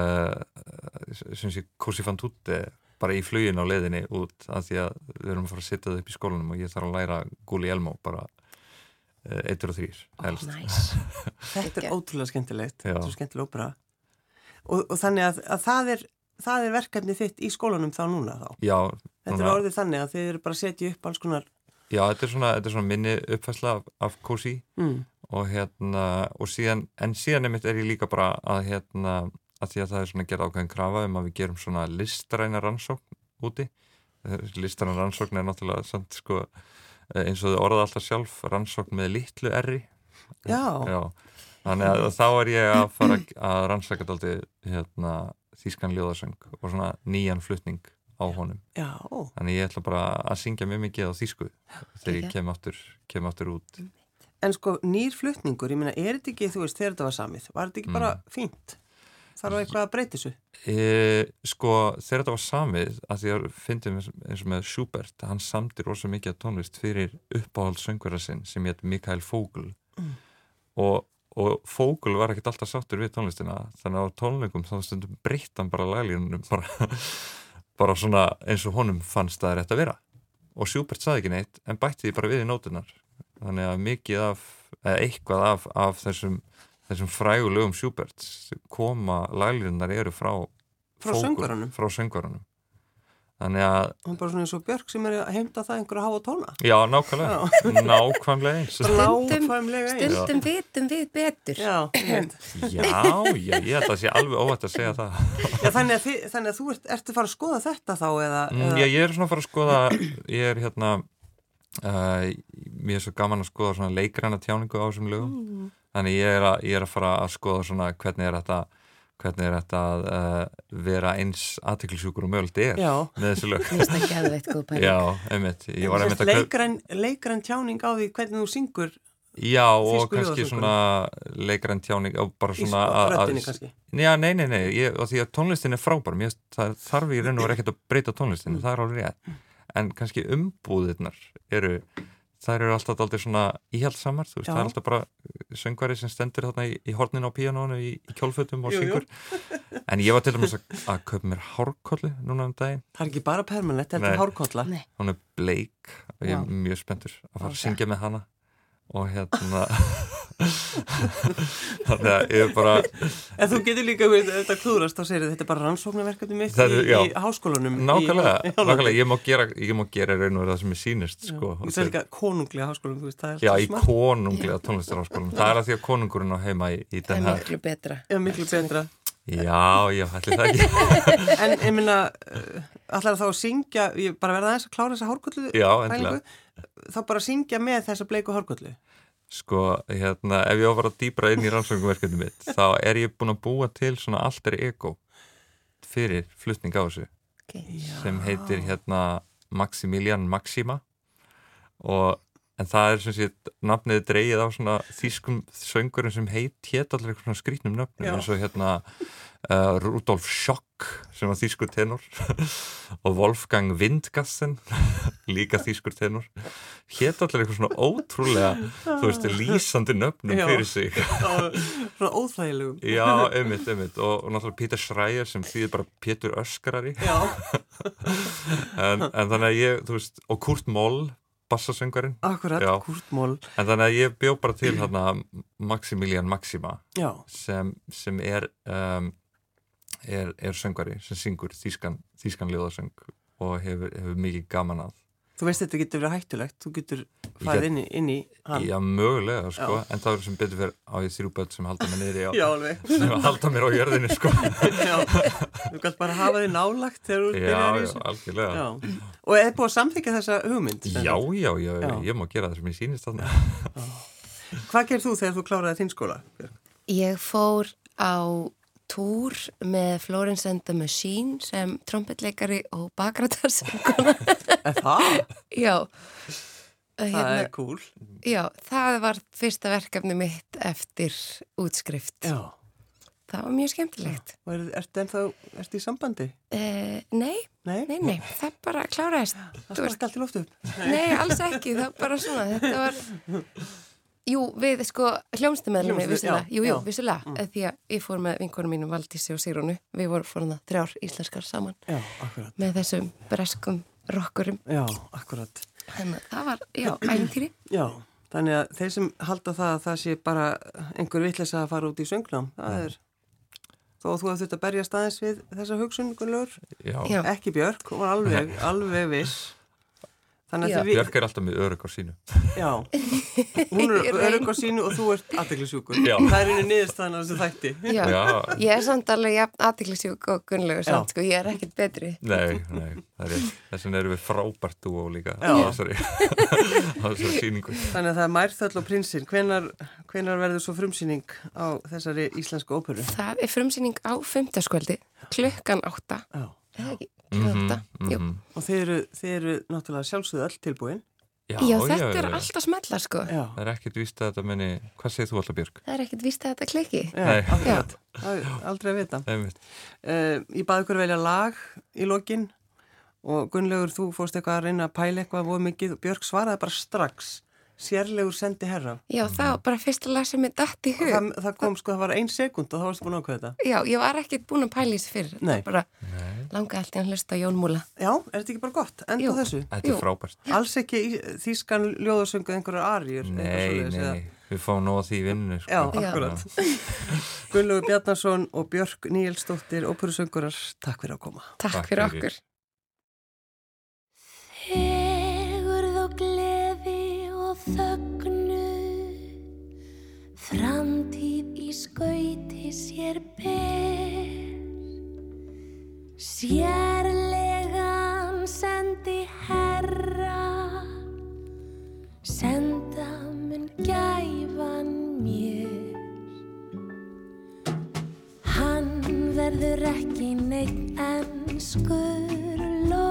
Speaker 2: uh, sem sé kursi fann tutte bara í flugin á leiðinni út af því að við erum að fara að setja það upp í skólanum og ég þarf að læra gúli elmo bara uh, eittur og þrýr helst
Speaker 3: næs
Speaker 1: Þetta er
Speaker 3: Ekki.
Speaker 1: ótrúlega skemmtilegt,
Speaker 2: Já.
Speaker 1: þetta er skemmtileg óbra. Og, og þannig að, að það, er, það er verkefni þitt í skólanum þá núna þá.
Speaker 2: já,
Speaker 1: Þetta
Speaker 2: núna-
Speaker 1: er orðið þannig að þið eru bara að setja upp alls konar...
Speaker 2: já, þetta er svona, þetta er svona minni uppfæsla af, af kursi
Speaker 1: Mm.
Speaker 2: og hérna og síðan, en síðan einmitt er ég líka bara að hérna, að því að það er svona gerð ákveðin krafa um að við gerum svona listræna rannsókn úti Eh, listræna rannsókn er náttúrulega samt sko eh, eins og þau orða alltaf sjálf rannsókn með litlu erri
Speaker 1: Já,
Speaker 2: Já. þannig að þá er ég að fara að rannsaka daldi hérna þýskan ljóðasöng og svona nýjan flutning á honum
Speaker 1: já,
Speaker 2: þannig ég ætla bara að syngja mjög mikið á þýsku þegar ég
Speaker 3: Geggjað.
Speaker 2: kem aftur, kem aftur út
Speaker 1: En sko, nýr flutningur, ég meina, er þetta ekki, þú veist, þegar þetta var samið, var þetta ekki bara
Speaker 2: Mm.
Speaker 1: fínt? Þarf eitthvað að breyti þessu?
Speaker 2: E, sko, þegar þetta var samið að því að fyndum eins eins og með Schubert hann samdi rosa mikið af tónlist fyrir uppáhaldssöngverða sinn sem hétt Mikael Fogl og, og Fogl var ekkert alltaf sáttur við tónlistina þannig að á tónleikum þá stundum breytt hann bara laglínunum bara, <laughs> bara svona eins og honum fannst það rétt að vera og Schubert saði ekki neitt en bætti því bara við í nótunar þannig að mikið af, eða eitthvað af, af þessum þessum frægulegum Schubert koma laglínunar eru frá
Speaker 1: Frá
Speaker 2: Fogl-
Speaker 1: söngvaranum?
Speaker 2: frá söngvarunum þannig að,
Speaker 1: Hún er bara svona eins og Björk sem er að heimta það einhverja háa tóna.
Speaker 2: já, nákvæmlega nákvæmlega eins
Speaker 3: Stundum-
Speaker 1: Nákvæmlega eins.
Speaker 3: stundum vitum við betur
Speaker 1: Já, ég veit.
Speaker 2: Já, já, ég held að það sé alveg óvægt að segja það
Speaker 1: já þannig, að þið, þannig að þú ert, ertu fara að skoða þetta þá eða,
Speaker 2: Mm,
Speaker 1: eða
Speaker 2: Já, ég er svona að fara að skoða ég er hérna uh, mér er svo gaman að skoða svona leikræna tjáningu á þessum lögum
Speaker 1: Mm.
Speaker 2: þannig ég er, að, ég er að fara að skoða svona hvernig er þetta hvernig er þetta að uh, vera eins aðteklisjúkur og mögult er
Speaker 1: Já.
Speaker 2: með þessi lög <laughs>
Speaker 3: finnst það geðveitt góð pæling
Speaker 2: Já, einmitt, ég var einmitt að kaup-
Speaker 1: leikrann leikran tjáning á því hvernig þú syngur
Speaker 2: Já, og
Speaker 1: Þýsku
Speaker 2: kannski
Speaker 1: ljóðasöngurinn.
Speaker 2: svona leikræn tjáning og bara
Speaker 1: í
Speaker 2: svona að- að-
Speaker 1: röttinni kannski.
Speaker 2: Já, nei, nei, nei, ég, og því að tónlistin er frábær mér, finnst- það þarf í raun og vera ekkert að breyta tónlistin það er alveg rétt en kannski umbúðirnar eru þær eru alltaf aldrei svona íhjaldsamar þú
Speaker 1: Já.
Speaker 2: veist, það er alltaf bara uh, söngvari sem stendur þarna í, í hornin á píanónu í, í kjólfötum og
Speaker 1: Jú, jú.
Speaker 2: syngur en ég var til dæmis að, að köpa mér hárkollu núna um daginn,
Speaker 1: Það er ekki bara permanent, þetta
Speaker 2: Nei.
Speaker 1: er hárkolla.
Speaker 3: Nei.
Speaker 2: hún er bleik og ég
Speaker 1: Já.
Speaker 2: er mjög spenntur að fara að
Speaker 3: Ok.
Speaker 2: syngja með hana og hérna <laughs> þannig að ég er bara
Speaker 1: En þú getur líka við þetta klúrast, þá segir þetta er bara rannsóknarverkefni mitt
Speaker 2: Það er-
Speaker 1: í,
Speaker 2: já.
Speaker 1: í háskólanum. í-
Speaker 2: Nákvæmlega,
Speaker 1: í Hollandi.
Speaker 2: nákvæmlega, ég má gera, ég má gera í raun og vera það sem ég sýnist sko.
Speaker 1: Þú segir líka konunglega háskólanum, þú veist, það er
Speaker 2: Já,
Speaker 1: alltaf
Speaker 2: í konunglega tónlistarháskólanum Það er að því að konungurinn á heima í, í
Speaker 3: það er
Speaker 2: den her
Speaker 3: miklu betra
Speaker 1: Já, miklu betra.
Speaker 2: Já, já, ætli það ekki
Speaker 1: <laughs> En ég minna, allar þá að syngja, ég bara verða aðeins að klára þessa hárkollu
Speaker 2: Já,
Speaker 1: pælingu,
Speaker 2: endilega
Speaker 1: þá bara syngja með þessa bleiku hárkollu.
Speaker 2: Sko, hérna, ef ég á að fara dýbra inn í rannsóknverkefni mitt þá er ég búin að búa til svona alter ego fyrir flutning á þessu
Speaker 3: okay.
Speaker 2: sem heitir hérna Maximilian Maxima og en það er sem sé nafnið er dreigið á svona þýskum söngurum sem heit hétt allir eitthvað svona skrýtnum nöfnum
Speaker 1: Já.
Speaker 2: eins og hérna uh, Rudolf Schock sem var þýskur <laughs> tenor og Wolfgang Windgassen líka þýskur tenor hétt allir eitthvað svona ótrúlega þú veist, lýsandi nöfnum
Speaker 1: Já.
Speaker 2: fyrir sig
Speaker 1: Svona óþægilegum.
Speaker 2: já, einmitt, einmitt og, og náttúrulega Peter Schreier sem þýðir bara Pétur Öskarari
Speaker 1: Já,
Speaker 2: en, en þannig að ég, þú veist, og Kurt Moll bassasöngarinn,
Speaker 1: akkurat,
Speaker 2: Já.
Speaker 1: kurtmól.
Speaker 2: en þannig að ég bjó bara til hérna Maximilian Maxima
Speaker 1: Já,
Speaker 2: sem, sem er, um, er er söngari sem syngur þýskan, þýskan ljóðasöng og hefur, hefur mikið gaman að
Speaker 1: þú veist þetta getur verið hættulegt, þú getur
Speaker 2: get-
Speaker 1: farið inn í, inn í hann.
Speaker 2: já, mögulega, sko, en það er sem betur fyrir á ég þrjú börn sem halda mig niðri á,
Speaker 1: Já, alveg.
Speaker 2: sem halda mér á jörðinni,
Speaker 1: <laughs>
Speaker 2: sko
Speaker 1: Já, þú gætt bara að hafa þið nálagt þegar þú
Speaker 2: já,
Speaker 1: byrjar í
Speaker 2: já,
Speaker 1: þessu.
Speaker 2: algjörlega
Speaker 1: Já, og er búið að samþykja þessa hugmynd?
Speaker 2: Já, já, já,
Speaker 1: Já.
Speaker 2: ég má gera það sem ég sýnist þarna
Speaker 1: Hvað gerð þú þegar þú kláraði þinn skóla? Björg?
Speaker 3: Ég fór á túr með Florence and the Machine sem trombetleikari og bakratarsenguna.
Speaker 1: Er það?
Speaker 3: já.
Speaker 1: Það
Speaker 3: Hérna,
Speaker 1: er cool.
Speaker 3: já, það var fyrsta verkefni mitt eftir útskrift.
Speaker 1: Já.
Speaker 3: Það var mjög skemmtilegt.
Speaker 1: Og er, ertu ennþá, ertu í sambandi?
Speaker 3: Uh, nei,
Speaker 1: Nei?
Speaker 3: nei, nei, það bara kláraðist.
Speaker 1: Það
Speaker 3: Þú veist,
Speaker 1: sparka allt í loftu upp.
Speaker 3: nei, alls ekki, það bara svona, þetta var... Jú, við sko, hljómsdumæðlunni,
Speaker 1: Hljómsveit,
Speaker 3: vissulega,
Speaker 1: já,
Speaker 3: jú, jú,
Speaker 1: já.
Speaker 3: vissulega, mm. því að ég fór með vinkonum mínum Valdísi og Sýrónu, við vorum fórum það þrjár íslenskar saman
Speaker 1: Já, akkurat.
Speaker 3: með þessum breskum rokkurum.
Speaker 1: Já, akkurat.
Speaker 3: Þannig að það var, já, æfintýri.
Speaker 1: Já, þannig að þeir sem halda það að það sé bara einhver vitleysa að fara út í söngnám, það
Speaker 2: Mm.
Speaker 1: er... Þó að þú hafði þetta berjast aðeins við þessa hugsun, Gunnlaur,
Speaker 2: Já,
Speaker 3: Já.
Speaker 1: ekki Björk, hún var
Speaker 2: <laughs>
Speaker 1: alveg, alveg viss. Þannig að
Speaker 3: Já.
Speaker 1: þið við,
Speaker 2: Björk er alltaf með örug á sínu
Speaker 1: já, hún
Speaker 3: Ég
Speaker 1: er
Speaker 3: reyn-
Speaker 1: örug á sínu og þú ert aðteglisjúkur.
Speaker 2: Já.
Speaker 1: Það er einu niðurstaðan af þessu þætti.
Speaker 3: Já.
Speaker 2: Já,
Speaker 3: Ég er samt alveg, já, aðtiklisjúk og gunnlegu samt, sko, ég er ekkert betri.
Speaker 2: nei, nei, það er þess vegna erum við frábært dúó líka
Speaker 1: Já.
Speaker 2: á þessari á þessari sýningu
Speaker 1: Þannig að það er Mærþöll og prinsinn. Hvenar, hvenar verður svo frumsýning á þessari íslensku óperu?
Speaker 3: Það er frumsýning á fymtaskvöldi, klukkan átta,
Speaker 1: Já.
Speaker 3: eða ekki, klukkan átta, jú.
Speaker 2: Mhm.
Speaker 1: Og þið eru, þið eru náttúrulega sjálfsögðu öll tilbúin.
Speaker 3: Já, þetta er alltaf smetla sko.
Speaker 1: Já.
Speaker 2: Það er ekkert víst að þetta meni, hvað segir þú alltaf Björg?
Speaker 3: Það er ekkert víst að þetta kliki.
Speaker 1: Já,
Speaker 2: Nei.
Speaker 1: akkurat. Það er Aldrei að vita.
Speaker 2: Einmitt.
Speaker 1: Uh, ég baði ykkur að velja lag í lokin og Gunnlaugur, þú fórst eitthvað að reyna að pæla eitthvað voð mikið og Björk svaraði bara strax. Sérlegur sendi herra.
Speaker 3: Já, það var bara fyrsta lag sem ég datt í hug.
Speaker 1: Það, það kom sko, það var ein sekund og þá varstu búin að ákveða þetta.
Speaker 3: Já, ég var ekkert búin að pæla í þessu fyrr.
Speaker 1: Nei.
Speaker 3: Það bara langaði allt í að hlusta á Jón Múla.
Speaker 1: Já, er þetta ekki bara gott? Enda
Speaker 3: Jú.
Speaker 1: á þessu.
Speaker 2: Þetta
Speaker 3: Jú.
Speaker 2: er frábært
Speaker 1: Alls ekki í- þýskan ljóðasöngu einhverjar arjur.
Speaker 2: Nei, nei, við fáum nóg að því í vinninu sko.
Speaker 1: Já,
Speaker 3: Já.
Speaker 1: akkurat. Gunnlaugur Bjarnason og Björk Níelsdóttir, óperusöngurar, takk fyrir að koma.
Speaker 3: Takk,
Speaker 2: Takk
Speaker 3: fyrir
Speaker 2: fyrir.
Speaker 3: okkur.
Speaker 4: Hegurð og gleði og þögnu Framtíð í skauti sér ber Sérlegan sendi herra Senda mun gæfan mér Hann verður ekki neitt en skurlótt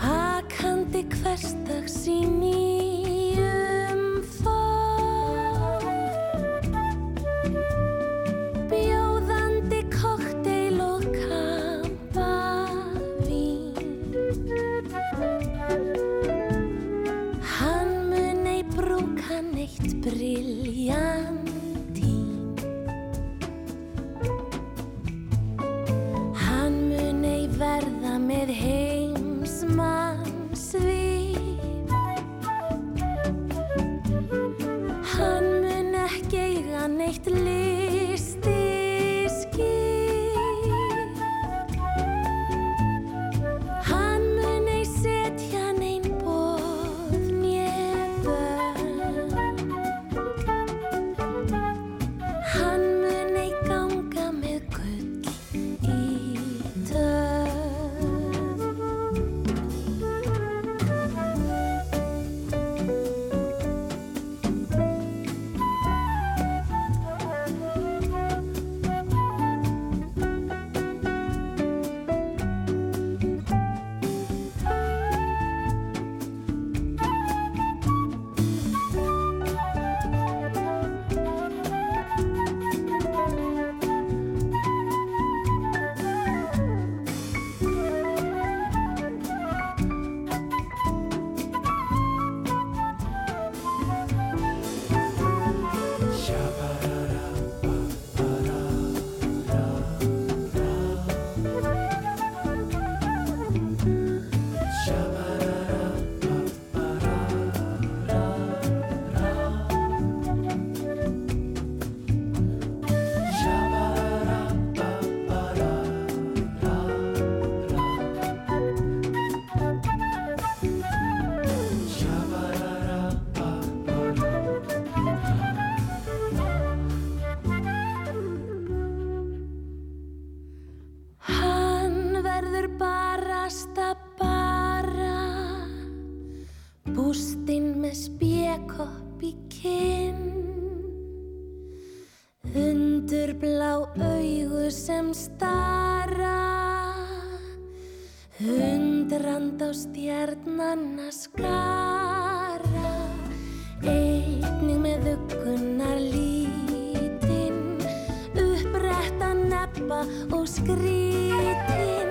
Speaker 4: Hakandi hverstags í nýjum fór Bjóðandi kokteil og kampavín Hann mun ei brúka neitt briljantín Hann mun ei verða með heimsmanns víf Hann mun ekki eiga neitt listi skýr Hann mun ei setja neinn bóð njöfn Hann mun ei ganga með gull í dörn Hundrand á stjarnanna skara Einnig með uggunar lítinn Uppretta neppa og skrítin